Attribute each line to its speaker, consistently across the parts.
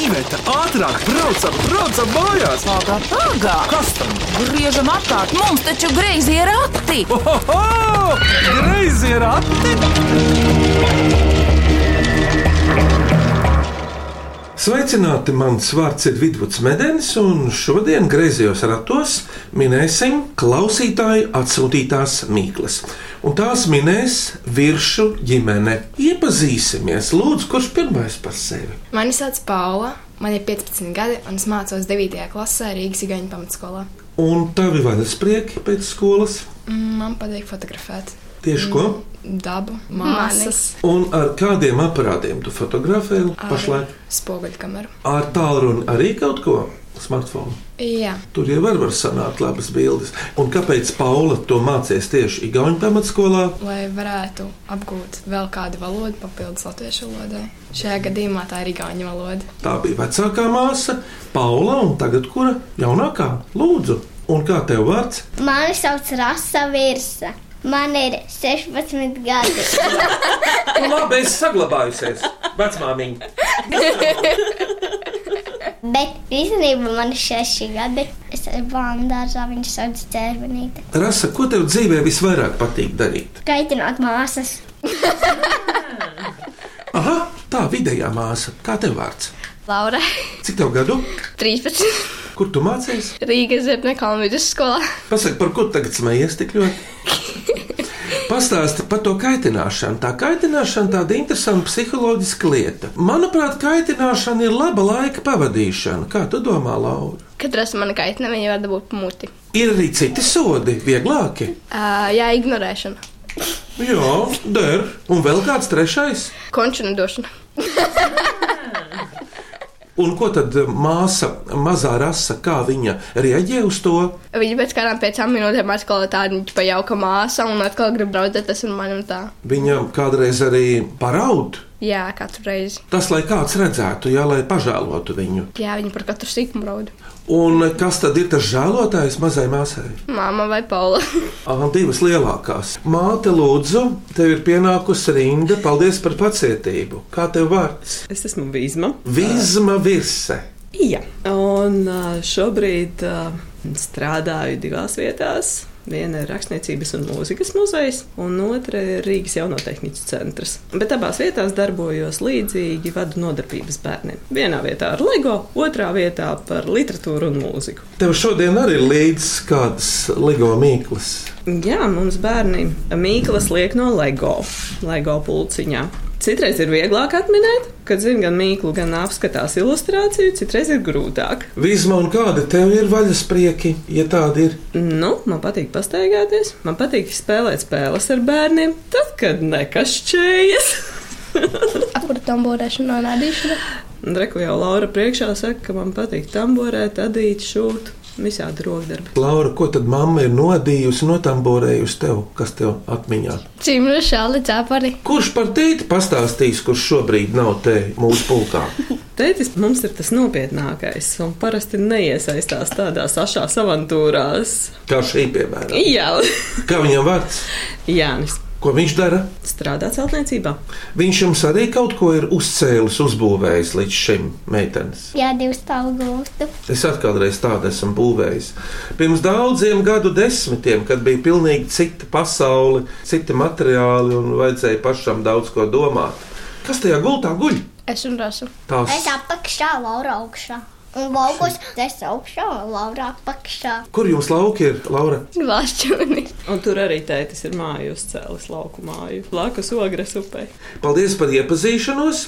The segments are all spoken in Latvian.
Speaker 1: Iveta, ātrāk, braucam, braucam mājās!
Speaker 2: Ātrāk, ātrāk!
Speaker 1: Kas tam?
Speaker 2: Griežam ātrāk! Mums taču greizi ir rati!
Speaker 1: Ohoho! Greizi ir ati!
Speaker 3: Sveicināti! Mans vārds ir Vidvuds Medenis, un šodien griezījos ratos minēsim klausītāju atsūtītās mīklas. Un tās minēs viršu ģimene. Iepazīsimies, lūdzu, kurš pirmais par sevi?
Speaker 4: Mani sauc Paula, man ir 15 gadi, un es mācos 9. klasē Rīgas Igaunijas pamatskolā.
Speaker 3: Un tavi vaļas prieki pēc skolas?
Speaker 4: Mm, Man patīk fotografēt
Speaker 3: Tieši ko?
Speaker 4: dabu, māsas,
Speaker 3: Un ar kādiem aparātiem tu fotografē pašlaik?
Speaker 4: spoguļkameru.
Speaker 3: Ar tālruni arī kaut ko? Smartphone.
Speaker 4: Jā,
Speaker 3: Tur jau var, var sanākt labas bildes. Un kāpēc Paula to mācīties tieši Igaunijas pamatskolā?
Speaker 4: lai varētu apgūt vēl kādu valodu papildus latviešu valodai. Šajā gadījumā tā ir Igaunijas valoda.
Speaker 3: Tā bija vecākā māsa, Paula, un tagad kura jaunākā? Lūdzu, un kā tev vārds?
Speaker 5: Mani sauc Rasa Virsa. Man ir 16 gadi.
Speaker 3: Labi, es saglabājusies, vecmāmiņa.
Speaker 5: Bet īstenībā man ir 6 gadi. Es esmu bērngārzā, viņš sauc ķērbenīti.
Speaker 3: Rasa, ko tev dzīvē visvairāk patīk darīt?
Speaker 5: Kaitināt māsas.
Speaker 3: Aha, tā vidējā māsa, kā tev vārds?
Speaker 6: Laura,
Speaker 3: Cik tev gadu?
Speaker 6: 13.
Speaker 3: Kur tu mācījies?
Speaker 6: Rīgas Zirnekalna vidusskolā.
Speaker 3: Pasaki, par ko tu tagad smējies tik ļoti? Pastāsti par to kaitināšanu. Tā kaitināšana ir tāda interesanta psiholoģiska lieta. Manuprāt, kaitināšana ir laba laika pavadīšana. Kā tu domā, Laura?
Speaker 6: Katrs man kaitina, viņa var dabūt pa muti.
Speaker 3: Ir arī citi sodi, vieglāki.
Speaker 6: Uh, jā, ignorēšana,
Speaker 3: Jā, der. Un vēl kāds trešais.
Speaker 6: končina došana.
Speaker 3: Un ko tad māsa, mazā rasa, kā viņa reaģē uz to?
Speaker 6: Viņa pēc kādām piecām minūtēm atkal ir tāda pa jauka māsa un atkal grib braukt, tas ir manam tā.
Speaker 3: Viņam kādreiz arī paraud.
Speaker 6: Jā, katru reizi.
Speaker 3: Tas, lai kāds redzētu, jā, lai pažēlotu viņu.
Speaker 6: Jā, viņa par katru sīkumu braudu.
Speaker 3: Un kas tad ir tas žēlotājs mazai māsai?
Speaker 6: Māma vai Paula?
Speaker 3: Ah, divas lielākās. Māte, lūdzu, tev ir pienākusi rinda. Paldies par pacietību. Kā tev vārds?
Speaker 7: Es esmu Vīsma.
Speaker 3: Vizma virse.
Speaker 7: Jā, un ā, šobrīd ā, strādāju divās vietās. Viena ir rakstniecības un mūzikas muzejs, un otra ir Rīgas jaunotehnikas centrs. Bet abās vietās darbojos līdzīgi, vadu nodarbības bērniem. Vienā vietā ar LEGO, otrā vietā par literatūru un mūziku.
Speaker 3: Tev šodien arī ir līdzi kādas LEGO mīklas.
Speaker 7: Jā, mums bērniem mīklas liek no LEGO, LEGO pulciņā. Citreiz ir vieglāk atminēt, kad zina gan mīklu, gan apskatās ilustrāciju, citreiz ir grūtāk.
Speaker 3: Vizma, un kāda tev ir vaļas prieki, ja tāda ir?
Speaker 7: Nu, man patīk pastaigāties, man patīk spēlēt spēles ar bērniem, tad, kad nekas šķējas.
Speaker 6: Par tamborēšanu un adīšanu.
Speaker 7: Reku jau Laura priekšā saka, ka man patīk tamborēt, adīt, šūt, visādi rokdarbi.
Speaker 3: Laura, ko tad mamma ir nodījusi, notamborējusi tev, kas tev atmiņā?
Speaker 6: Cimru šāli cepari.
Speaker 3: Kurš par tēti pastāstīs, kurš šobrīd nav te mūsu pulkā?
Speaker 7: Tētis mums ir tas nopietnākais un parasti neiesaistās tādās ašās avantūrās.
Speaker 3: Kā šī piemēra?
Speaker 7: Jā,
Speaker 3: Kā viņam vārds?
Speaker 7: Jānis
Speaker 3: Ko viņš dara?
Speaker 7: strādā celtniecībā.
Speaker 3: Viņš jums arī kaut ko ir uzcēlis, uzbūvējis līdz šim meitenes.
Speaker 5: Jā, divas tālu gultu.
Speaker 3: Es atkal reiz tādu esmu būvējis. Pirms daudziem gadu desmitiem, kad bija pilnīgi cita pasaule, citi materiāli un vajadzēja pašam daudz ko domāt. Kas tajā gultā guļ?
Speaker 6: Es un Rasu.
Speaker 3: Tās...
Speaker 5: Es apakšā, Laura augšā. Un laukos es augšā, un Laura apakšā.
Speaker 3: Kur jums lauki ir, Laura?
Speaker 6: Glāšķūni.
Speaker 7: Un tur arī tētis ir māju uzcēlis lauku māju, blakus ogres upē.
Speaker 3: Paldies par iepazīšanos!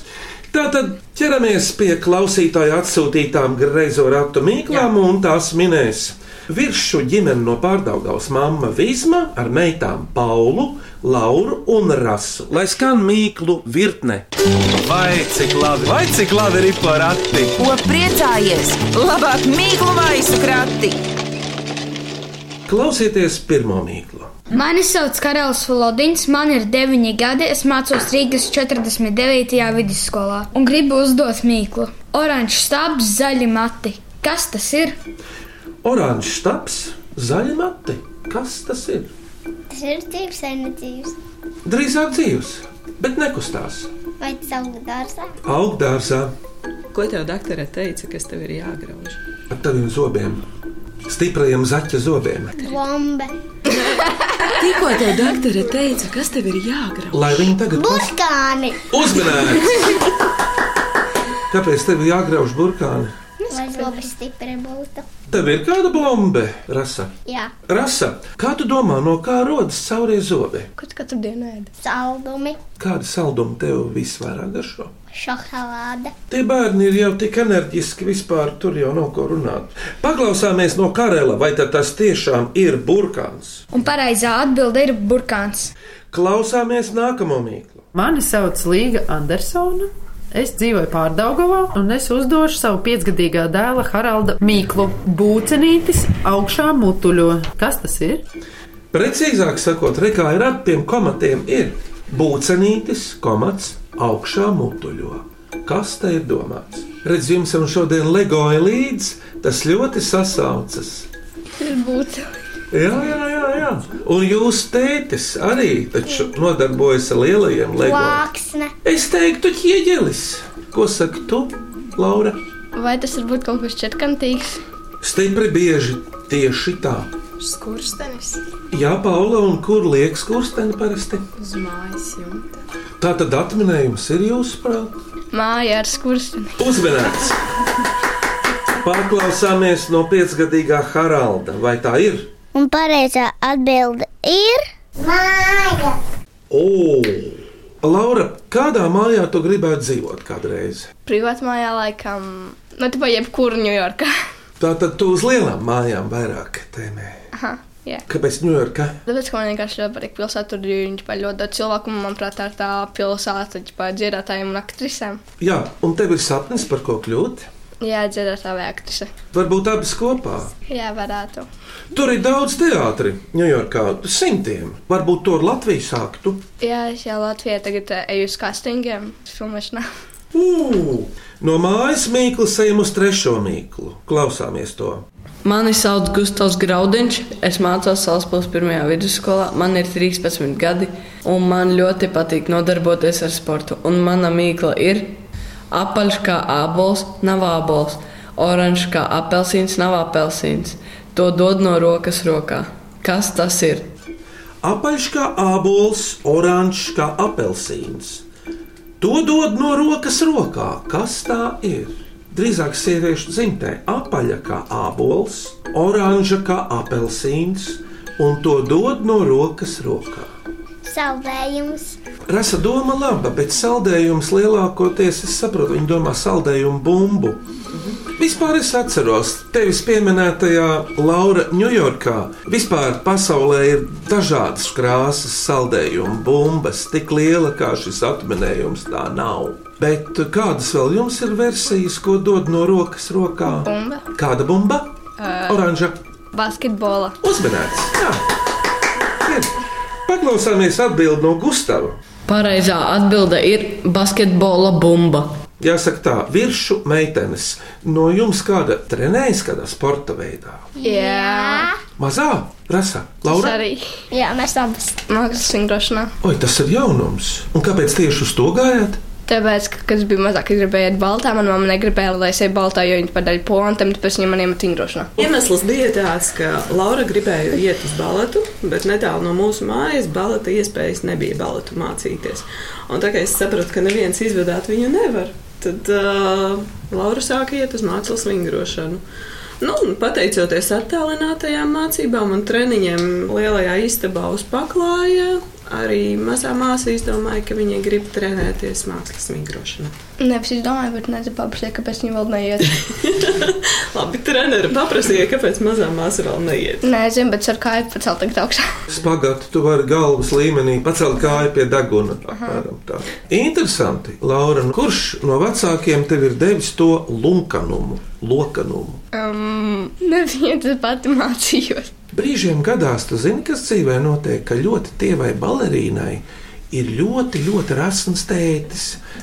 Speaker 3: Tātad ķeramies pie klausītāja atsūtītām greizo ratu mīklām, un tās minēs virsmu ģimeni no pārdaudzes mamma Vizma ar meitām Paulu, Lauru un Rasu. Lai skan mīklu virkne!
Speaker 1: Vai cik labi, vai cik labi ir par ati!
Speaker 2: Ko priecājies? Labāk mīklu maisu krati!
Speaker 3: Klausieties pirmo mīklu!
Speaker 8: Mani sauc Karls Falodins, man ir 9 gadi, es mācos Rīgas 49. vidusskolā un gribu uzdot mīklu. Oranžs stabs, zaļi mati. Kas tas ir?
Speaker 3: Oranžs taps, zaļa mati. Kas tas ir?
Speaker 5: Tas ir dzīves enerģijas.
Speaker 3: Drīzāk dzīves, bet nekustās.
Speaker 5: Vai tas aug dārzā?
Speaker 3: Augdārzā
Speaker 7: Ko tev doktora teica, kas tev ir jāgrauž?
Speaker 3: ar taviem zobiem, stiprajiem zaķa zobiem,
Speaker 5: Bombe.
Speaker 7: Tikko tev doktora teica, kas tev ir jāgrauž?
Speaker 3: lai viņi tagad
Speaker 5: Burkāni.
Speaker 3: uzmanētu. Kāpēc tev ir jāgrauž burkāni?
Speaker 5: Lai zobi stipri būtu.
Speaker 3: Tev ir kāda bombe, rasa.
Speaker 5: Jā,
Speaker 3: Rasa, kā tu domā, no kā rodas saurie zobi?
Speaker 6: Ko tu katru dienu ēdi?
Speaker 5: saldumi,
Speaker 3: Kāda salduma tev visvairāk garšo?
Speaker 5: šokolāde.
Speaker 3: Tie bērni ir jau tik enerģiski, vispār tur jau nav ko runāt. Paklausāmies no Karela, vai tad tas tiešām ir burkāns?
Speaker 8: Un pareizā atbilde ir burkāns.
Speaker 3: Klausāmies nākamo mīklu.
Speaker 9: Mani sauc Līga Andersona. Es dzīvoju Pārdaugavā, un es uzdošu savu piecgadīgā dēla Haralda Mīklu būcenītis augšā mutuļo. Kas tas ir?
Speaker 3: Precīzāk sakot, rekā ir ar tiem komatiem ir būcenītis, komats augšā mutuļo. Kas te ir domāts? Redz, jums jau šodien legoja līdzi, tas ļoti sasaucas.
Speaker 6: Būtu.
Speaker 3: Jā, jā, jā, jā. Un jūs tētis arī taču nodarbojas ar lielajiem legojumiem.
Speaker 5: Plāksne.
Speaker 3: Es teiktu, ķieģelis. Ko saki tu, Laura?
Speaker 6: Vai tas var būt kaut kas četkantīgs?
Speaker 3: Stipri bieži tieši tā.
Speaker 4: Skurstenis
Speaker 3: Jā, Paula, un kur liekas kursteņi parasti?
Speaker 4: uz mājas jumta.
Speaker 3: Tā tad atminējums ir jūsu prātā.
Speaker 6: Māja ar skursteni.
Speaker 3: Uzmanīts! Pārklausāmies no piecgadīgā Haralda. Vai tā ir?
Speaker 5: Un pareizā atbilde ir. Māja.
Speaker 3: O, Laura, kādā mājā tu gribētu dzīvot kādreiz?
Speaker 6: Privātmājā laikam, nu, tā vai jebkur Ņujorkā.
Speaker 3: Tā tad tu uz lielām mājām vairāk tēmē.
Speaker 6: Aha, jā.
Speaker 3: Kāpēc Ņujorka?
Speaker 6: Tāpēc, ka man vienkārši ļoti patīk pilsēta, tur ir ģipā, ļoti daudz cilvēku, un manuprāt, tā ir tā pilsēta ģipā, dziedātājiem un aktrisēm.
Speaker 3: Jā, un tev ir sapnis par ko kļūt?
Speaker 6: Jā, dziedātāja vai aktrise.
Speaker 3: Varbūt abas kopā.
Speaker 6: Jā, varētu.
Speaker 3: Tur ir daudz teātri Ņujorkā, simtiem. Varbūt to ar Latviju sāktu.
Speaker 6: Jā, es jau Latvijā tagad eh, eju uz castingiem, filmēšanā.
Speaker 3: Ū, No mājas mīklas ejam uz trešo mīklu. Klausāmies to.
Speaker 10: Mani sauc Gustavs Graudiņš, es mācos Salaspils pirmajā vidusskolā, man ir 13 gadi, un man ļoti patīk nodarboties ar sportu. Un mana mīkla ir apaļš kā ābols, nav ābols, oranžs kā apelsīns, nav apelsīns. To dod no rokas rokā. Kas tas ir?
Speaker 3: Apaļš kā ābols, oranžs kā apelsīns. To dod no rokas rokā. Kas tā ir? Drīzāk sieviešu dzimtē apaļa kā ābols, oranža kā apelsīns, un to dod no rokas rokā.
Speaker 5: Saldējums.
Speaker 3: Rasa doma laba, bet saldējums lielākoties es saprotu, viņa domā saldējumu bumbu. Vispār es atceros, tevis pieminētajā Laura Ņujorkā. Vispār pasaulē ir dažādas krāsas, saldējuma bumbas, tik liela kā šis atminējums tā nav. Bet kādas vēl jums ir versijas, ko dod no rokas rokā?
Speaker 6: Bumba.
Speaker 3: Kāda bumba? Oranža.
Speaker 6: Basketbola.
Speaker 3: Uzmanīts! Jā, ir. Paklausāmies atbildi no Gustava.
Speaker 10: Pareizā atbilde ir basketbola bumba.
Speaker 3: Jāsaka, tā virsmu meitenes, no jums kāda trenējas kādā sporta veidā?
Speaker 6: Jā,
Speaker 3: Mazā, rasa,
Speaker 6: tas
Speaker 3: Laura.
Speaker 6: arī
Speaker 5: Jā, mēs abas.
Speaker 6: mākslas vingrošanā.
Speaker 3: Oi, tas ir jaunums. Un kāpēc tieši uz to gājāt?
Speaker 6: Tāpēc, ka, kad es biju mazāk, es gribēju iet baltā, manā mamā negribēja, lai es eju baltā, jo viņa padaļ pontam, tāpēc viņa man iemet vingrošanā.
Speaker 7: Iemesls bija tāds, ka Laura gribēja iet uz baletu, bet netālu no mūsu mājas baleta iespējas nebija baletu mācīties. Un tā kā es sapratu, ka neviens izvadāt viņu nevar, tad uh, Laura sāka iet uz mākslas vingrošanu. Nu, un pateicoties attālinātajām mācībām un treniņiem lielajā istabā uz paklāja, arī mazā māsa izdomāja, ka viņa grib trenēties mākslas vingrošanā.
Speaker 6: Nevis izdomāju, bet nezinu, paprasīju, kāpēc viņa vēl neiet.
Speaker 7: Labi, treneri paprasīja, kāpēc mazā māsa vēl neiet.
Speaker 6: Nezinu, bet ar kāju pacelt tagad augšā.
Speaker 3: Spagāti, tu vari galvas līmenī pacelt kāju pie deguna. apmēram tā. Interesanti, Laura, nu kurš no vecākiem tev ir devis to lunkanumu, lokanumu?
Speaker 6: Um, Neviens es pati mācījos.
Speaker 3: Brīžiem gadās, tu zini, kas dzīvē notiek, ka ļoti tievai balerīnai ir ļoti, ļoti rasns tētis.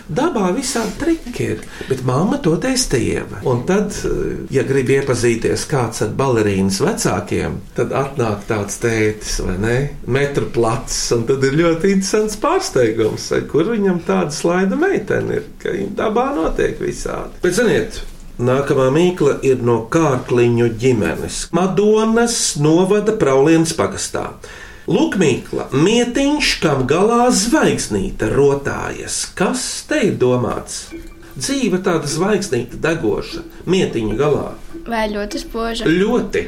Speaker 3: Dabā visādi triki ir, bet mamma to testēja. Un tad, eh, ja grib iepazīties kāds ar balerīnas vecākiem, tad atnāk tāds tētis, vai ne? Metru plats, un tad ir ļoti interesants pārsteigums, vai kur viņam tāda slaida meitene ir, ka viņam dabā notiek visādi. Bet ziniet, Nākamā mīkla ir no kārkliņu ģimenes. Madonas novada Praulienas pagastā. Lūk, mīkla, mietiņš, kam galā zvaigznīte rotājas. Kas te ir domāts? Dzīve tāda zvaigznīte degoša, mietiņa galā.
Speaker 6: Vai ļoti spoža?
Speaker 3: Ļoti,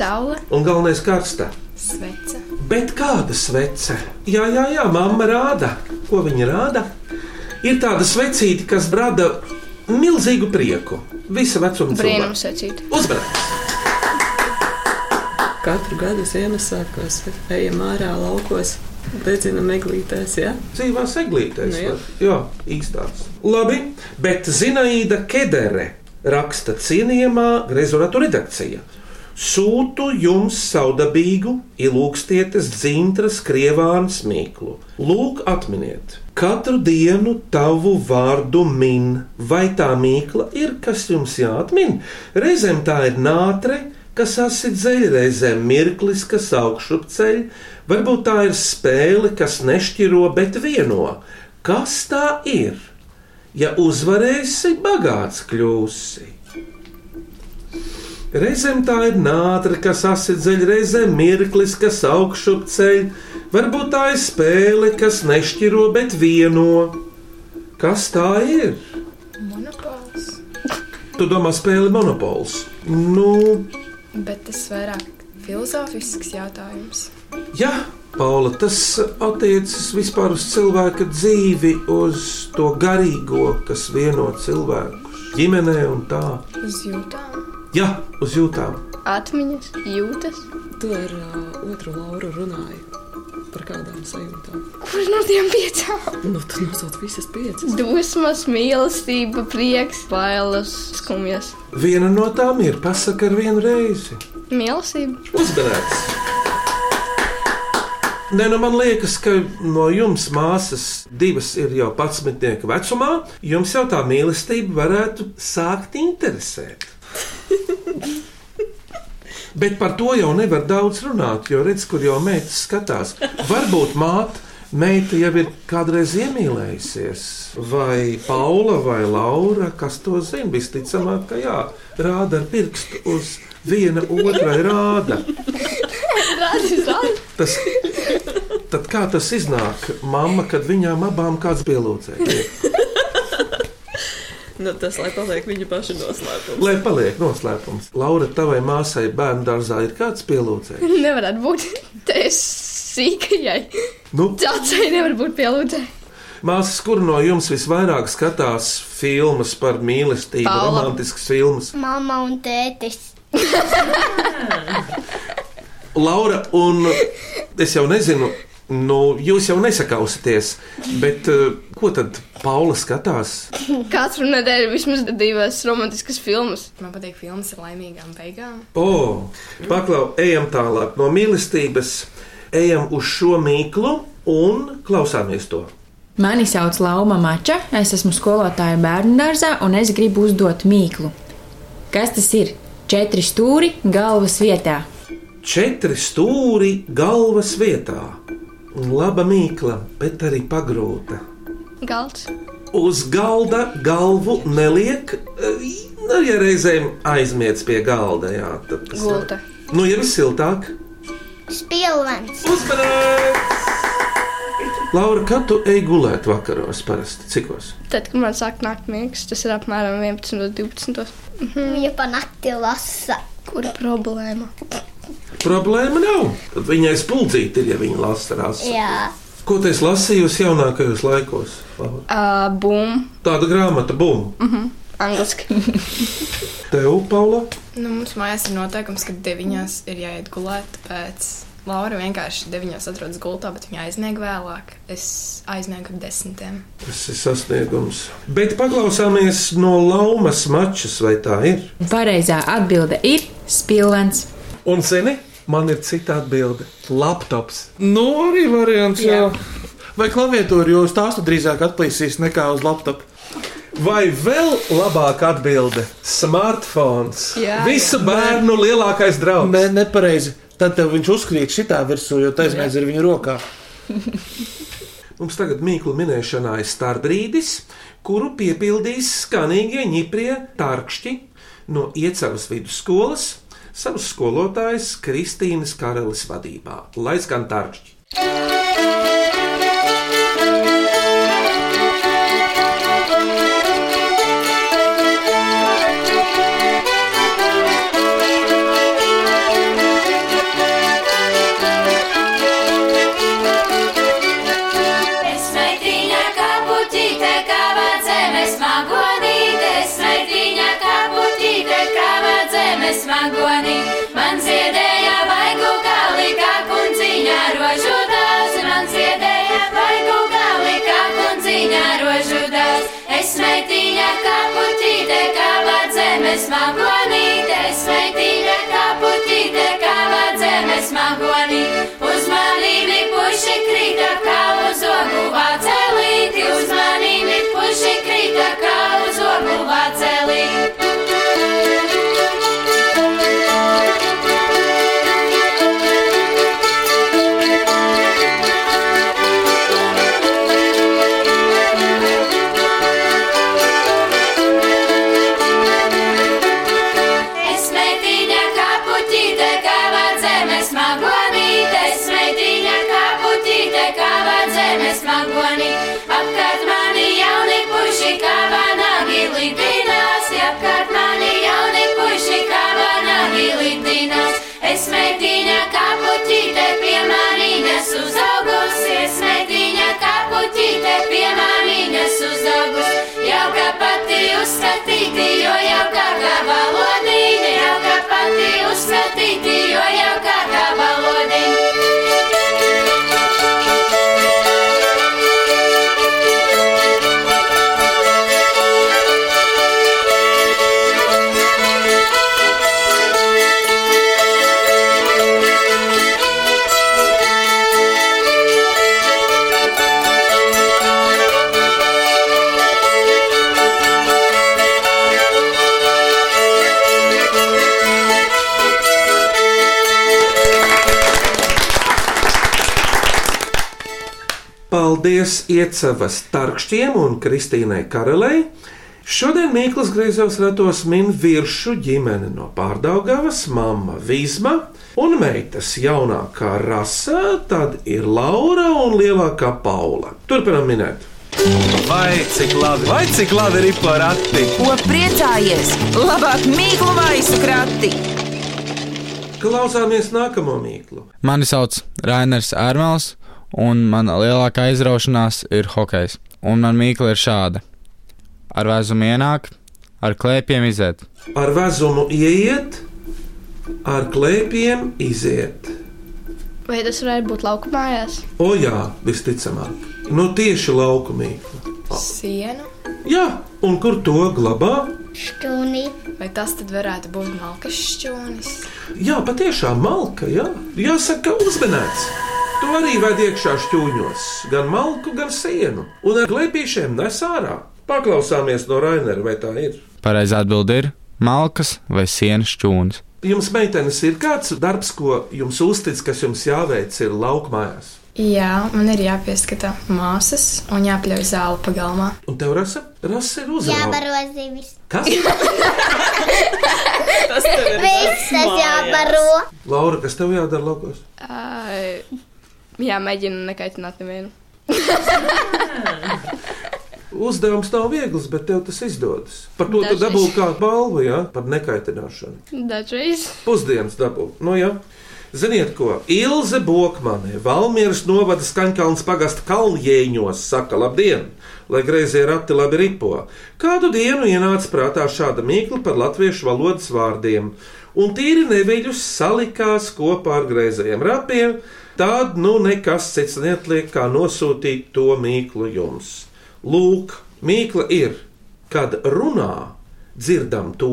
Speaker 6: Saula,
Speaker 3: un galvenais karsta.
Speaker 4: Svece.
Speaker 3: Bet kāda svece? Jā, jā, jā, mamma rāda. Ko viņa rāda? Ir tāda svecīte, kas rada milzīgu prieku. Visa vecuma
Speaker 6: brīnums
Speaker 3: cilvēka.
Speaker 6: sacīt.
Speaker 3: Uzmanības!
Speaker 7: Katru gadu Ziemassvētkos ejam ārā laukos, dedzinam eglītēs. Ja?
Speaker 3: dzīvā seglītēs.
Speaker 7: Nu, jā.
Speaker 3: vai? jā, īstās. Labi, bet Zinaida Kedere raksta cienījamā Grezoratu redakcija. Sūtu jums saudabīgu, ilūkstietes dzintras krievānu smīklu. Lūk, atminiet, katru dienu tavu vārdu min, vai tā mīkla ir, kas jums jāatmin. Reizēm tā ir nātre, kas asit ceļ, reizēm mirklis, kas augšup ceļ, varbūt tā ir spēle, kas nešķiro, bet vieno. Kas tā ir? Ja uzvarēsi, bagāts kļūsi. Reizēm tā ir nātre, kas asit ceļ, reizēm mirklis, kas augšup ceļ, varbūt tā ir spēle, kas nešķiro, bet vieno. Kas tā ir?
Speaker 4: Monopols.
Speaker 3: Tu domā, spēle monopols? Nu,
Speaker 4: Bet tas vairāk filozofisks jautājums.
Speaker 3: Jā, Paula, tas attiecas vispār uz cilvēka dzīvi, uz to garīgo, kas vieno cilvēku ģimenē un tā.
Speaker 4: Uz jūtām.
Speaker 3: Jā, uz jūtām.
Speaker 6: Atmiņas, jūtas.
Speaker 7: To ar uh, otru lauru runāju. Par kādām sajūtām?
Speaker 6: Kur no tiem piecām?
Speaker 7: Nu, tu nosauc visas piecas.
Speaker 6: Dusmas, mīlestība, prieks, bailes, skumjas.
Speaker 3: Viena no tām ir pasaka ar vienu reizi.
Speaker 6: Mīlestība.
Speaker 3: Uzmanīgs! Nē, nu man liekas, ka no jums, māsas, divas ir jau patsmetnieka vecumā. Jums jau tā mīlestība varētu sākt interesēt. Bet par to jau nevar daudz runāt, jo redz, kur jau meita skatās. Varbūt māte, meita jau ir kādreiz iemīlējusies, vai Paula vai Laura, kas to zina. Visticamāk, ka jā, rāda ar pirkstu uz viena otrai rāda. Tas, tad kā tas iznāk, mamma, kad viņām abām kāds pielūdzēja?
Speaker 7: Nu, tas, lai paliek viņa paša noslēpums.
Speaker 3: Lai paliek noslēpums. Laura, tavai māsai bērnu dārzā ir kāds pielūdzējis?
Speaker 6: Nevarētu būt te sīkajai.
Speaker 3: Nu,
Speaker 6: Cēlcēji nevar būt pielūdzē.
Speaker 3: Māsas, kur no jums visvairāk skatās filmas par mīlestību,
Speaker 6: Paula.
Speaker 3: romantiskas filmas?
Speaker 5: Mama un tētis.
Speaker 3: Laura, un es jau nezinu, nu, jūs jau nesakausieties, bet eh, ko tad Paula skatās?
Speaker 6: Katru nedēļu vismaz divas romantiskas filmas.
Speaker 4: Man patīk filmas ar laimīgām beigām.
Speaker 3: O, paklau, ejam tālāk no mīlestības, ejam uz šo mīklu un klausāmies to.
Speaker 11: Mani sauc Lauma Mača, es esmu skolotāja bērnu dārzā un es gribu uzdot mīklu. Kas tas ir? Četri stūri galvas vietā.
Speaker 3: Četri stūri galvas vietā. Laba mīkla, bet arī pagrūta.
Speaker 6: Galds.
Speaker 3: uz galda galvu neliek. eh, Nu, ja reizēm aizmiedz pie galda, jā, tad tas ir.
Speaker 6: Gulta.
Speaker 3: Nu, ja viss siltāk,
Speaker 5: Spilvens.
Speaker 3: uzmanīgs! Laura, kad tu ej gulēt vakaros, parasti cikos?
Speaker 6: Tad, kad man sāk nākt miegs, tas ir apmēram 11, 12.
Speaker 5: Viņa pa nakti lasa.
Speaker 6: Kur problēma?
Speaker 3: Problēma nav. Tad viņai spuldzīte ir, ja viņa lasa rāsu.
Speaker 5: Jā.
Speaker 3: Ko tu esi lasījusi jaunākajos laikos? Laura?
Speaker 6: Uh, Bum.
Speaker 3: Tāda grāmata, bum!
Speaker 6: Angliski.
Speaker 3: Tev, Paula,
Speaker 4: Nu, mums mājās ir noteikums, ka deviņās ir jāiet gulēt. Pēc Laura vienkārši deviņās atrodas gultā, bet viņa aizmiega vēlāk. Es aizmiegu ar desmitiem.
Speaker 3: tas ir sasniegums. Bet paklausāmies no laumas mačas, vai tā ir?
Speaker 11: Pareizā atbilde ir spilvens.
Speaker 3: Un, zini, man ir cita atbilde. Laptops. Nu, arī variants. Jā.
Speaker 12: Vai klaviatūru jūs tāstu drīzāk atplīsīs nekā uz laptopa?
Speaker 3: Vai vēl labāka atbilde - smartphones?
Speaker 12: Jā,
Speaker 3: Visu
Speaker 12: jā.
Speaker 3: bērnu lielākais draugs.
Speaker 12: Nē, nepareizi. Tad tev viņš uzkrīt šitā virsū, jo taisnība ir viņa rokā.
Speaker 3: Mums tagad mīklu minēšanā ir starpbrīdis, kuru piepildīs skanīgie ņiprie tarkšķi no iecavas vidusskolas savas skolotājas Kristīnas Karelis vadībā. Lai skan tarkšķi!
Speaker 13: Smaitīņa kaputīte, kava dzeme smagonīte, smaitīņa kaputīte, kava dzeme smagonī. Man ziedēja vaigu gali, kā kunciņa rožu dāz, man ziedēja vaigu gali, kā kunciņa rožu dāz. Es smaitīņa kaputīte, kava dzeme smagonīte, smaitīņa kaputīte, kava dzeme smagonī. Uzmanību puši krita, kā uz ogu vācelīti, uzmanību puši krita, kā uz ogu vācelīti. Es meitiņa kaputīte, kava dzeme smagonīte, es meitiņa kaputīte, kava dzeme smagoni. Apkārt mani jauni puši, kava nagi lidinās, apkārt mani jauni puši, kava nagi lidinās. Es meitiņa kaputīte, pie manīņas uzaugus, es meitiņa kaputīte, pie manīņas uzaugus. Jauka pati uzskatīti, jo jauka gava valodīte, jauka pati uzskatīti, jo jauka gava
Speaker 3: Paldies Iecavas tarkšķiem un Kristīnai Karelei. Šodien Mikls Grīsovs ratos min virsmu ģimeni no Pārdaugavas, mamma Vīsma un meitas jaunākā rasa, tad ir Laura un lielākā Paula. Turpinam minēt.
Speaker 1: Vai cik labi, vai cik labi ir porati?
Speaker 2: Ko priecājies? Labāk mīklu maisu krati!
Speaker 3: Klausāmies nākamo mīklu.
Speaker 14: Mani sauc Rainers Ermels, un mana lielākā aizraušanās ir hokejs. Un man mīkla ir šāda: ar vēzumu ienāk, ar klēpiem iziet.
Speaker 3: Ar vezumu ieiet, ar klēpiem iziet.
Speaker 6: Vai tas varētu būt lauku mājās?
Speaker 3: O jā, visticamāk, no tieši lauku mīklu.
Speaker 4: Sienu.
Speaker 3: Jā, un kur to glabā?
Speaker 4: Šķūni. Vai tas tad varētu būt malkas šķūnis?
Speaker 3: Jā, patiešām malka, jā. jāsaka, uzmanīts. To arī vajag iekšā šķūņos, gan malku, gan sienu, un ar glēpīšiem nes ārā. Paklausāmies no Rainera, vai tā ir.
Speaker 14: Pareizā atbilde ir malkas vai sienas šķūnis.
Speaker 3: Jums, meitenes, ir kāds darbs, ko jums uztic, kas jums jāveic, ir laukmājās.
Speaker 4: Jā, man ir jāpieskata māsas un jāpļauj zāle pagalmā.
Speaker 3: Un tev rasa, rasa ir uzmanība.
Speaker 5: Jābaro zivis.
Speaker 3: Kas?
Speaker 5: Tas Viss tas jābaro.
Speaker 3: Laura, kas tev jādara laukos?
Speaker 6: Ai, Jā, mēģinu nekaitināt nevienu.
Speaker 3: Uzdevums nav viegls, bet tev tas izdodas. Par to
Speaker 6: Dažreiz.
Speaker 3: tu dabūji kādu balvu, jā, par nekaitināšanu.
Speaker 6: Dažreiz.
Speaker 3: Pusdienas dabū. Nu, jā. Ziniet, ko Ilze Bokmane, Valmieras novada Skaņkalns pagasta kalnjēņos, saka labdien, lai greizie rati labi ripo. Kādu dienu ienāca prātā šāda mīkla par latviešu valodas vārdiem, un tīri neviļus salikās kopā ar greizajiem ratiem, tad nu nekas cits neatliek, kā nosūtīt to mīklu jums. Lūk, mīkla ir, kad runā, dzirdam to,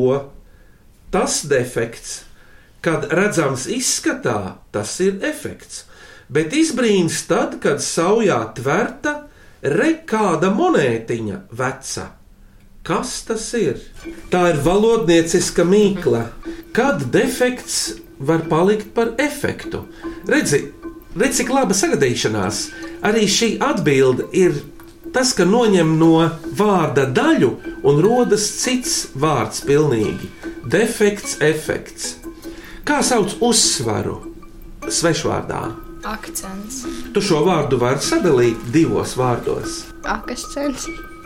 Speaker 3: tas defekts, kad redzams izskatā, tas ir efekts. bet izbrīns tad, kad saujā tverta re kāda monētiņa veca. Kas tas ir? Tā ir valodnieciska mīkla. Kad defekts var palikt par efektu? Redzi, redzi cik laba sagadīšanās. Arī šī atbilde ir tas, ka noņem no vārda daļu un rodas cits vārds pilnīgi. Defekts, efekts. Kā sauc uzsvaru svešvārdā?
Speaker 4: Akcents.
Speaker 3: Tu šo vārdu vari sadalīt divos vārdos.
Speaker 6: Akcents.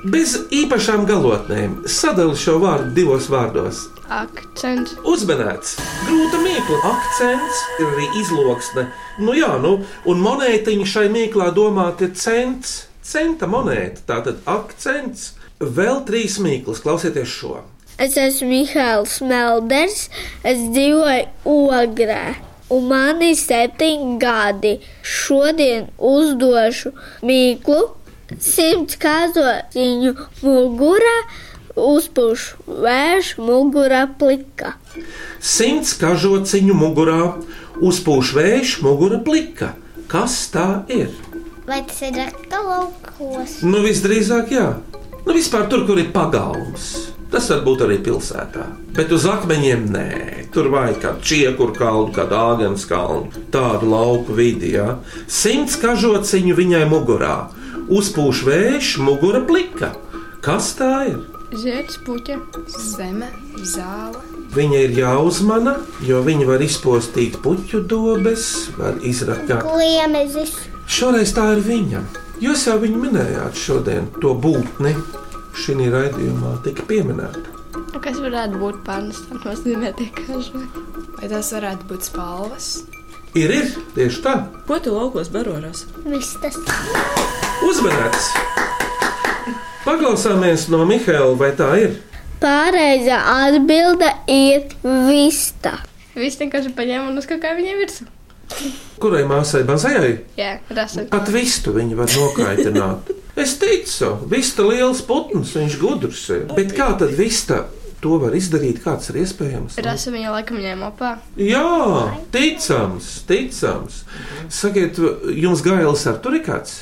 Speaker 3: Bez īpašām galotnēm sadali šo vārdu divos vārdos.
Speaker 6: Akcents.
Speaker 3: Uzmanīts, grūta mīkla, akcents, ir arī izloksne. Nu, jā, nu, un monētiņa šai mīklā domāta ir cents, centa monēta. Tātad akcents, vēl trīs mīklas, klausieties šo.
Speaker 15: Es esmu Mihāls Melders, es dzīvoju Ogrē. Un man ir septiņi gadi. Šodien uzdošu mīklu, simts kazotiņu mugurā, uzpūšu vēršu mugurā plika.
Speaker 3: Simts kažociņu mugurā, uzpūš vējš, mugura plika. Kas tā ir?
Speaker 5: Vai tas ir aktuāls?
Speaker 3: Nu, visdrīzāk, jā. Nu, vispār tur, kur ir pagalms. Tas var būt arī pilsētā. Bet uz akmeņiem nē, tur vajag kādu čiekuru kalnu, kādu āgāns kalnu, tādu lauku vidi. Ja? Simts kažociņu viņai mugurā. Uzpūš vējš, mugura plika. Kas tā ir?
Speaker 4: Zēns, puķa, zeme, zāle.
Speaker 3: Viņa ir jāuzmana, jo viņa var izpostīt puķu dobes, var izrakāt.
Speaker 5: Gliemezis.
Speaker 3: Šoreiz tā ir viņa. Jūs jau viņu minējāt šodien, to būtni šī raidījumā tika pieminēta.
Speaker 6: Nu, Kas varētu būt pārnestāms nozīmē tie kažu?
Speaker 4: Vai tas varētu būt spalvas?
Speaker 3: Ir, ir tieši tā.
Speaker 7: Ko tu laukos barojas?
Speaker 5: Vistas.
Speaker 3: Uzmanīgs! Paklausāmies no Mihaela, vai tā ir?
Speaker 15: Pareizā atbilde ir vista.
Speaker 6: Viss vienkārši paņēma un uzkakāja viņiem virsū.
Speaker 3: Kurai māsai mazajai?
Speaker 6: Jā, rasa.
Speaker 3: Pat vistu viņi var nokaitināt. Es ticu, vista liels putns, viņš gudrs ir. Bet kā tad vista to var izdarīt, kāds ir iespējams?
Speaker 6: Rasa viņa laikam ņēma opā.
Speaker 3: Jā, ticams, ticams. Sakiet, jums gailis ar tur ir kāds?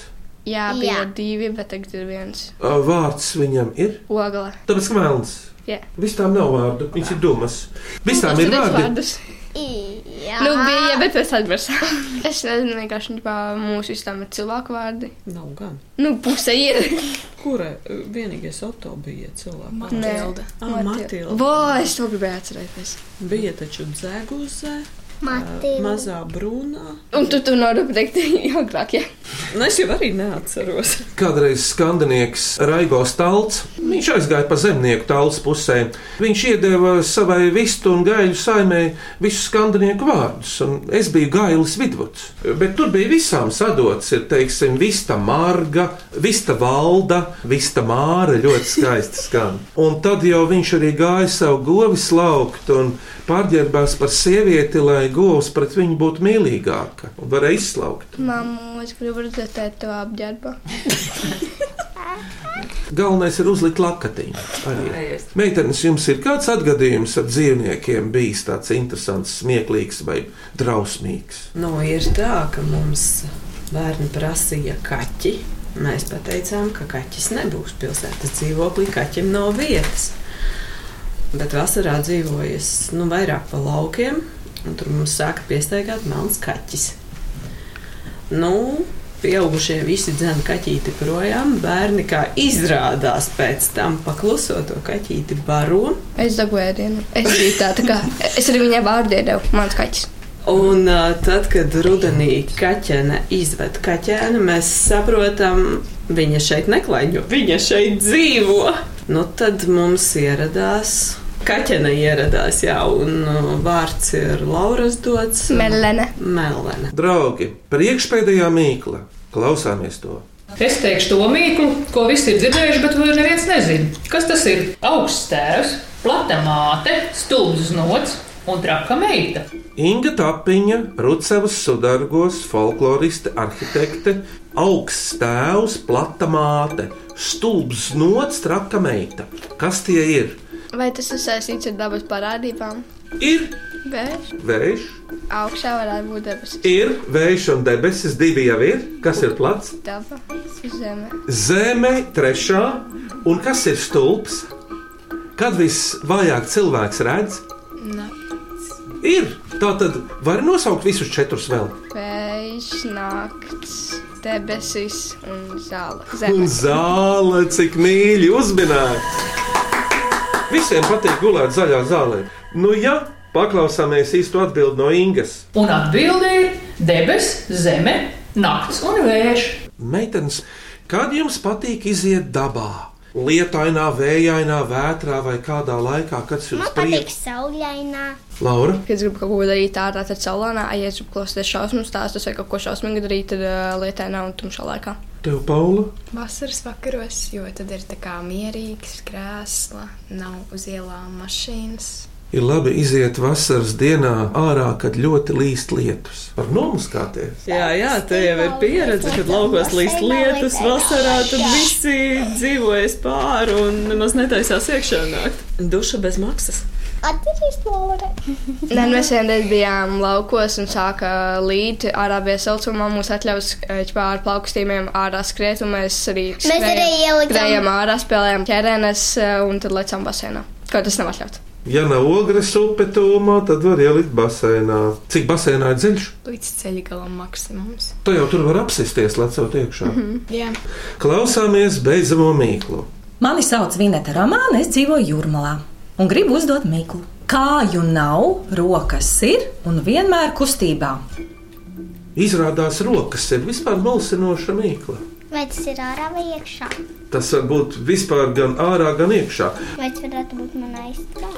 Speaker 6: Jā, bija Jā. divi, bet tagad ir viens.
Speaker 3: Ā, Vārds viņam ir?
Speaker 6: Ogla.
Speaker 3: Tāpēc ka melns.
Speaker 6: Jā. Nu,
Speaker 3: Vistām nav vārdu, viņš ir domas. Vistām
Speaker 6: Tas
Speaker 3: ir
Speaker 6: viens
Speaker 3: vārdi.
Speaker 6: vārdus. Jā. Nu, bija, bet es aizmirsu. es nezinu, vienkārši ģipā, mūsu visām ir cilvēku vārdi.
Speaker 7: Nav gan.
Speaker 6: Nu, puse ir.
Speaker 7: Kura uh, vienīgais auto bija cilvēks?
Speaker 6: Matilda.
Speaker 7: Ah, Matilda.
Speaker 6: Vā, es to gribēju atcerēties.
Speaker 7: Bija taču dzēguze.
Speaker 5: Matilda.
Speaker 7: Mazā brūnā.
Speaker 6: Un tu tur norūp teikt ilgāk, jā.
Speaker 7: Nu, es jau arī neatceros.
Speaker 3: Kādreiz skandinieks Raigo Stalts, viņš aizgāja pa zemnieku tālpas pusē. Viņš iedeva savai vistu un gaļu saimē visu skandinieku vārdus, un es biju gailis vidvuds. Bet tur bija visām sadots, ir teiksim, vista marga, vista valda, vista māra, ļoti skaisti skan. Un tad jau viņš arī gāja savu govis laukt un pārģērbās par sievieti, lai govs pret viņu būtu mīlīgāka un varēja izslaukt.
Speaker 6: Mamma, es gribu redzēt tev apģērbu.
Speaker 3: Galvenais ir uzlikt lakatiņu. arī. Meitenes, jums ir kāds atgadījums ar dzīvniekiem bijis tāds interesants, smieklīgs vai drausmīgs?
Speaker 7: Nu, ir tā, ka mums bērni prasīja kaķi. Mēs teicām, ka kaķis nebūs pilsētas dzīvoklī, kaķim nav vietas. Bet vasarā dzīvojas nu, vairāk pa laukiem, un tur mums sāka piestaigāt melns kaķis. Nu, Pieaugušie visi dzēna kaķīti projām. Bērni, kā izrādās, pēc tam pakluso to kaķīti baro.
Speaker 6: Es dabūju ēdienu. Es biju tā, tā kā es arī viņai vārdu iedevu. Mans kaķis.
Speaker 7: Un ā, tad, kad rudenī kaķene izved kaķēnu, mēs saprotam, viņa šeit neklaiņo, viņa šeit dzīvo. Nu, tad mums ieradās. Kaķene ieradās, jā, un ā, vārds ir Lauras dots.
Speaker 6: Melene.
Speaker 7: Melene.
Speaker 3: Draugi, priekšpēdējā mīkla, klausāmies to.
Speaker 16: Es teikšu to mīklu, ko visi ir dzirdējuši, bet vēl neviens nezina. Kas tas ir? Augsts tēvs, plata māte, stulbs nots un traka meita.
Speaker 3: Inga Tapiņa, Rucavas sudargos, folkloriste, arhitekte, augsts tēvs, plata māte, stulbs nots, traka meita. Kas tie ir?
Speaker 6: Vai tas ir saistīts ar dabas parādībām?
Speaker 3: Ir
Speaker 6: Vējš
Speaker 3: Vējš
Speaker 6: augšā varētu būt debesis.
Speaker 3: ir vējš un debesis, divi jau ir. Kas ir plats?
Speaker 6: Daba zeme.
Speaker 3: Zeme, trešā. Un kas ir stulps? Kad visvājāk cilvēks redz,
Speaker 6: Nē.
Speaker 3: ir. Tā tad var nosaukt visus četrus vēl.
Speaker 6: Vējš nakts, debesis un zāle.
Speaker 3: Un zāle, cik mīļi uzminēt! Visiem patīk gulēt zaļā zālē. Nu, ja paklausāmies īsto atbildi no Ingas.
Speaker 16: Un atbildi ir debes, zeme, nakts un vējš.
Speaker 3: Meitenes, kad jums patīk iziet dabā? Lietainā, vējainā, vētrā vai kādā laikā, kad jums
Speaker 5: Patīk
Speaker 3: prieks?
Speaker 5: saulainā.
Speaker 3: Laura,
Speaker 6: Kad es gribu kaut ko darīt ārā, tad saulēnā, ja es gribu klausīties šausmu stāstus vai kaut ko šausmīgu darīt, tad uh, lietainā un tumšā laikā.
Speaker 3: tev Paula,
Speaker 4: Vasaras vakaros, jo tad ir tā kā mierīgs krēsla, nav uz ielām mašīnas.
Speaker 3: ir labi iziet vasaras dienā ārā, kad ļoti līst lietus. Var nomuskāties.
Speaker 7: Jā, jā, tā jau ir pieredze, kad laukos līst lietus vasarā, tad visi dzīvojas pāri un nemaz netaisās iekšā nākt. Duša bez maksas.
Speaker 5: Atcerieties, Lorija.
Speaker 6: Nē, mēs vienreiz bijām laukos un sāka līt ārā bija saucamā. Mums atļaus eh, ķipā, ar plaukstīmiem ārā skriet, un mēs arī
Speaker 5: Mēs arī ielikām-
Speaker 6: Gājām ārā, spēlējām ķerēnes eh, un tad lecām basēnā. Kaut tas nav atļauts.
Speaker 3: Ja nav ogres upe tūmā, tad var ielikt basēnā. Cik basēnā ir dziļš,
Speaker 4: Līdz ceļa galam maksimums. Mhm,
Speaker 3: to jau tur var apsisties, lecot iekšā.
Speaker 4: Jā.
Speaker 3: Klausāmies beidzamo mīklu.
Speaker 17: Mani sauc Vineta Romāna, es dzīvoju Jūrmalā un gribu uzdot mīklu. Kāju nav, rokas ir un vienmēr kustībā.
Speaker 3: Izrādās, rokas ir vispār mulsinoša mīkla.
Speaker 5: Vai tas ir ārā vai iekšā?
Speaker 3: Tas var būt vispār gan ārā, gan iekšā.
Speaker 5: Vai tas varētu būt manā istabā?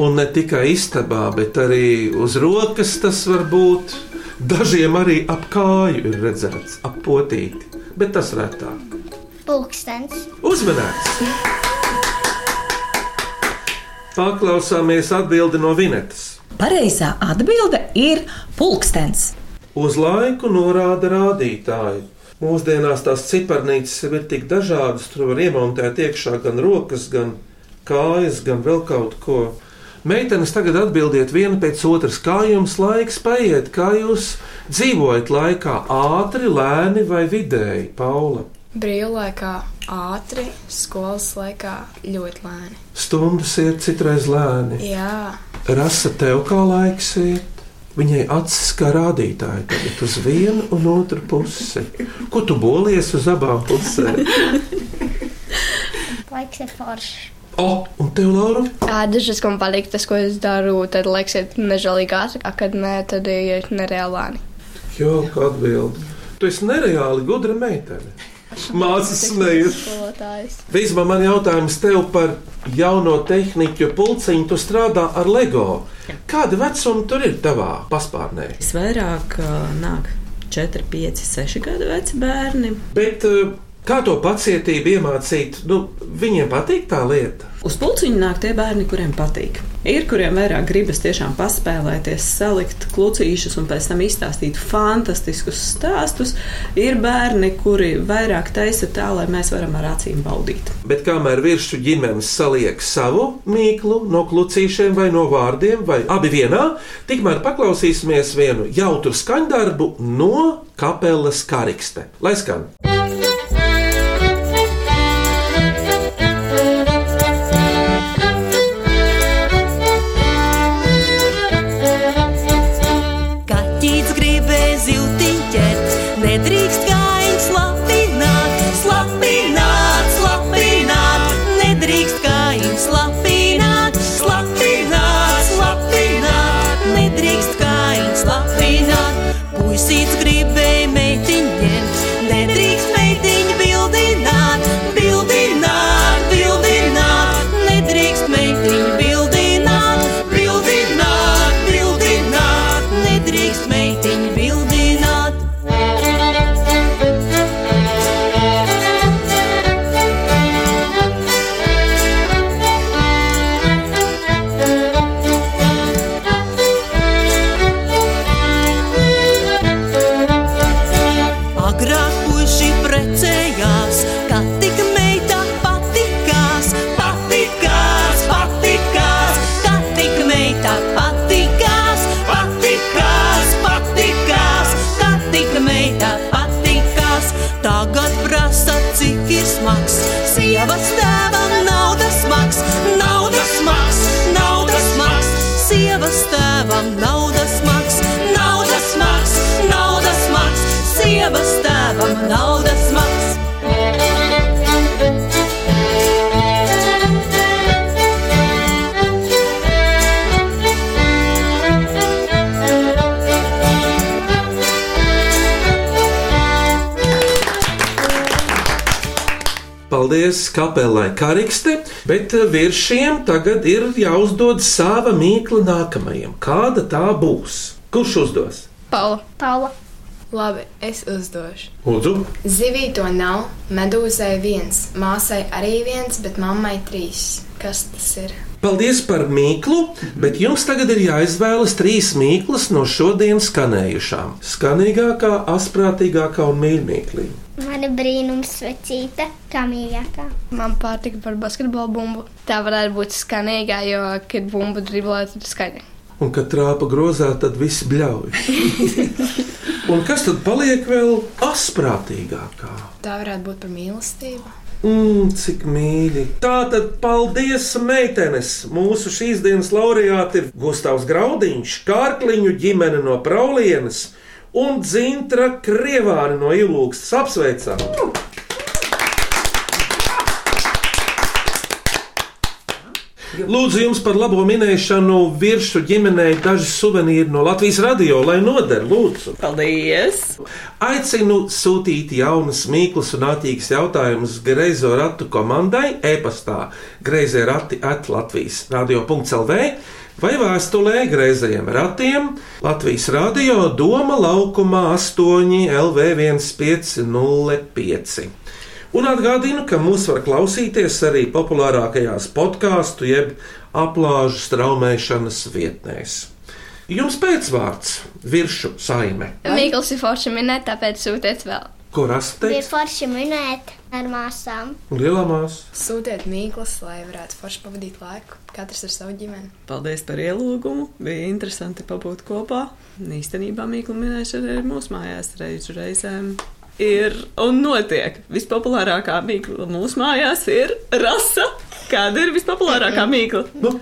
Speaker 3: Un ne tikai istabā, bet arī uz rokas tas var būt. Dažiem arī ap kāju ir redzēts, ap potīti, bet tas retāk.
Speaker 5: Pulkstens.
Speaker 3: Uzmanīgs! Paklausāmies atbildi no Vinetas.
Speaker 17: Pareizā atbilde ir pulkstens.
Speaker 3: Uz laiku norāda rādītāji. Mūsdienās tās ciparnīcas jau ir tik dažādas, tur var iemontēt iekšā gan rokas, gan kājas, gan vēl kaut ko. Meitenes tagad atbildiet viena pēc otras, kā jums laiks paiet, kā jūs dzīvojat laikā, ātri, lēni vai vidēji, Paula.
Speaker 4: Brīvlaikā ātri, skolas laikā ļoti lēni.
Speaker 3: Stundas iet citreiz lēni.
Speaker 4: Jā,
Speaker 3: Rasa tev kā laiks iet, viņai acis kā rādītāji tagad uz vienu un otru pusi. Ko tu bolies uz abām pusēm?
Speaker 5: Laiks ir foršs.
Speaker 3: O, un tev, Laura,
Speaker 6: Ā, Dažreiz man patīk tas, ko es daru, tad laiks iet nežēlīgi ātrāk, kad nē, tad ir nereālāni.
Speaker 3: jauka atbildi. Tu esi nereāli gudra meitene. Mācis smējas.
Speaker 6: Skolotājs.
Speaker 3: Vismaz man jautājums tev par jauno tehniku pulciņu. Tu strādā ar LEGO. Kāda vecuma tur ir tavā paspārnē?
Speaker 7: Visvairāk uh, nāk 4, 5, 6 gadu veci bērni.
Speaker 3: Bet eh, kā to pacietību iemācīt? Nu, viņiem patīk tā lieta.
Speaker 7: Uz pulciņu nāk tie bērni, kuriem patīk. Ir, kuriem vairāk gribas tiešām paspēlēties, salikt klucīšus un pēc tam izstāstīt fantastiskus stāstus. Ir bērni, kuri vairāk taisa tā, lai mēs varam ar acīm baudīt.
Speaker 3: Bet kamēr virsū ģimenes saliek savu mīklu, no klucīšiem vai no vārdiem, vai abi vienā, tikmēr paklausīsimies vienu jautru skaņdarbu no kapelas karikste. Lai skan!
Speaker 18: Kaķis gribēja ziltiņu ķert, nedrīkst gājiņš slapināt, slapināt, slapināt, nedrīkst gājiņš slapināt, slapināt, slapināt, nedrīkst gājiņš slapināt. Puisīts gribēja meitiņu ņemt, nedrīkst naudas maks, naudas maks, naudas maks, sievas tēvam naudas maks.
Speaker 3: Paldies kapelai Karikste, bet eh, virsiem tagad ir jāuzdod sava mīkla nākamajam. Kāda tā būs? Kurš uzdos?
Speaker 4: Paula.
Speaker 5: Paula.
Speaker 4: Labi, es uzdošu.
Speaker 3: Lūdzu,
Speaker 4: Zivī to nav, medūzai viens, māsai arī viens, bet mammai trīs. Kas tas ir?
Speaker 3: paldies par mīklu, bet jums tagad ir jāizvēlas trīs mīklas no šodienas skanējušām. Skanīgākā, asprātīgākā un mīļākā.
Speaker 5: Man ir brīnums vecīte, kā mīļākā.
Speaker 6: Man patika par basketbalu bumbu. Tā varētu būt skanīgā, jo, kad bumbu driblē, tad skaļi.
Speaker 3: Un kad trāpa grozā, tad viss bļauj. un kas tad paliek vēl asprātīgākā?
Speaker 4: Tā varētu būt par mīlestību.
Speaker 3: Mm, cik mīļi. Tā tad paldies, meitenes! Mūsu šīs dienas laureāti ir Gustavs Graudiņš, Kārkliņu ģimene no Praulienes un Dzintra Krievāri no Ilūgas. Apsveicam! Lūdzu, jums par labo minēšanu virsmu ģimenei daži suvenīri no Latvijas radio, lai noder, lūdzu.
Speaker 7: Paldies!
Speaker 3: Aicinu sūtīt jaunas, mīklas un attīstīgas jautājumus greizo ratu komandai e-pastā grazē rati at Latvijas radio.clv vai vēstulē greizajiem ratiem Latvijas radio Doma laukumā 8 LV1505. Un atgādinu, ka mūs var klausīties arī populārākajās podkāstu jeb aplāžu straumēšanas vietnēs. Jums pēcvārds - virsmu saime,
Speaker 6: Mikls ir forši minēt, tāpēc sūtiet vēl.
Speaker 3: ko rastei
Speaker 5: Bija forši minēt ar māsām.
Speaker 3: lielā māsā.
Speaker 4: Sūtiet mīklas, lai varētu forši pavadīt laiku, katrs ar savu ģimeni.
Speaker 7: Paldies par ielūgumu. Bija interesanti pabūt kopā. Un Īstenībā mīklu minēšana ir mūsu mājās reizu reizēm. Ir un notiek. Vispopulārākā mīkla mūsu mājās ir rasa. Kāda ir vispopulārākā mīkla? Nu,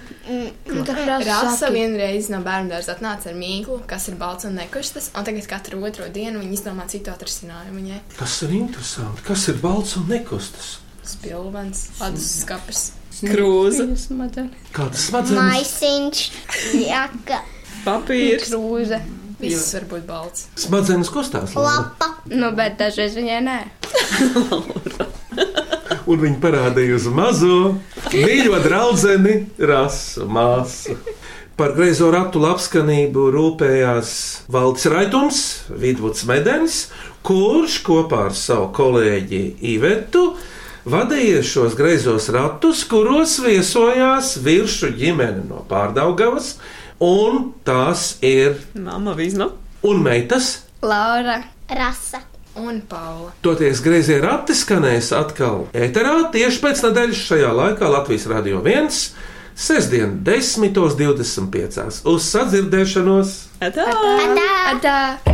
Speaker 4: Rasa vienreiz no bērnu dārza atnāca ar mīklu, kas ir balts un nekustas, un tagad katru otro dienu viņa izdomā citu atrisinājumu viņai.
Speaker 3: Tas ir interesanti. Kas ir balts un nekustas?
Speaker 4: Spilvens, ledus skapis.
Speaker 7: Krūze.
Speaker 3: Kādas smadzenes?
Speaker 5: Maisiņš, jaka,
Speaker 7: Papīrs.
Speaker 6: Krūze.
Speaker 4: Viss var būt balts.
Speaker 3: Smadzenes kustās. Laura.
Speaker 6: Nu, bet dažreiz viņai nē.
Speaker 3: Un viņi parādīja uz mazo mīļo draugu, rasu māsu. Par greizo ratu labskanību rūpējās Valdis Raitums, Vidvuds Medens, kurš kopā ar savu kolēģi Ivetu vadīja šos greizos ratus, kuros viesojās virsmu ģimene no Pārdaugavas, un tās ir
Speaker 7: Mama Vizma
Speaker 3: un meitas
Speaker 6: Laura.
Speaker 5: rasa.
Speaker 4: Un Paula.
Speaker 3: Toties griezie rati skanēs atkal ēterā tieši pēc nedēļas šajā laikā Latvijas Rādio 1, sestdien, 10.25. Uz sadzirdēšanos!
Speaker 7: Atā!
Speaker 5: Atā!
Speaker 6: Atā!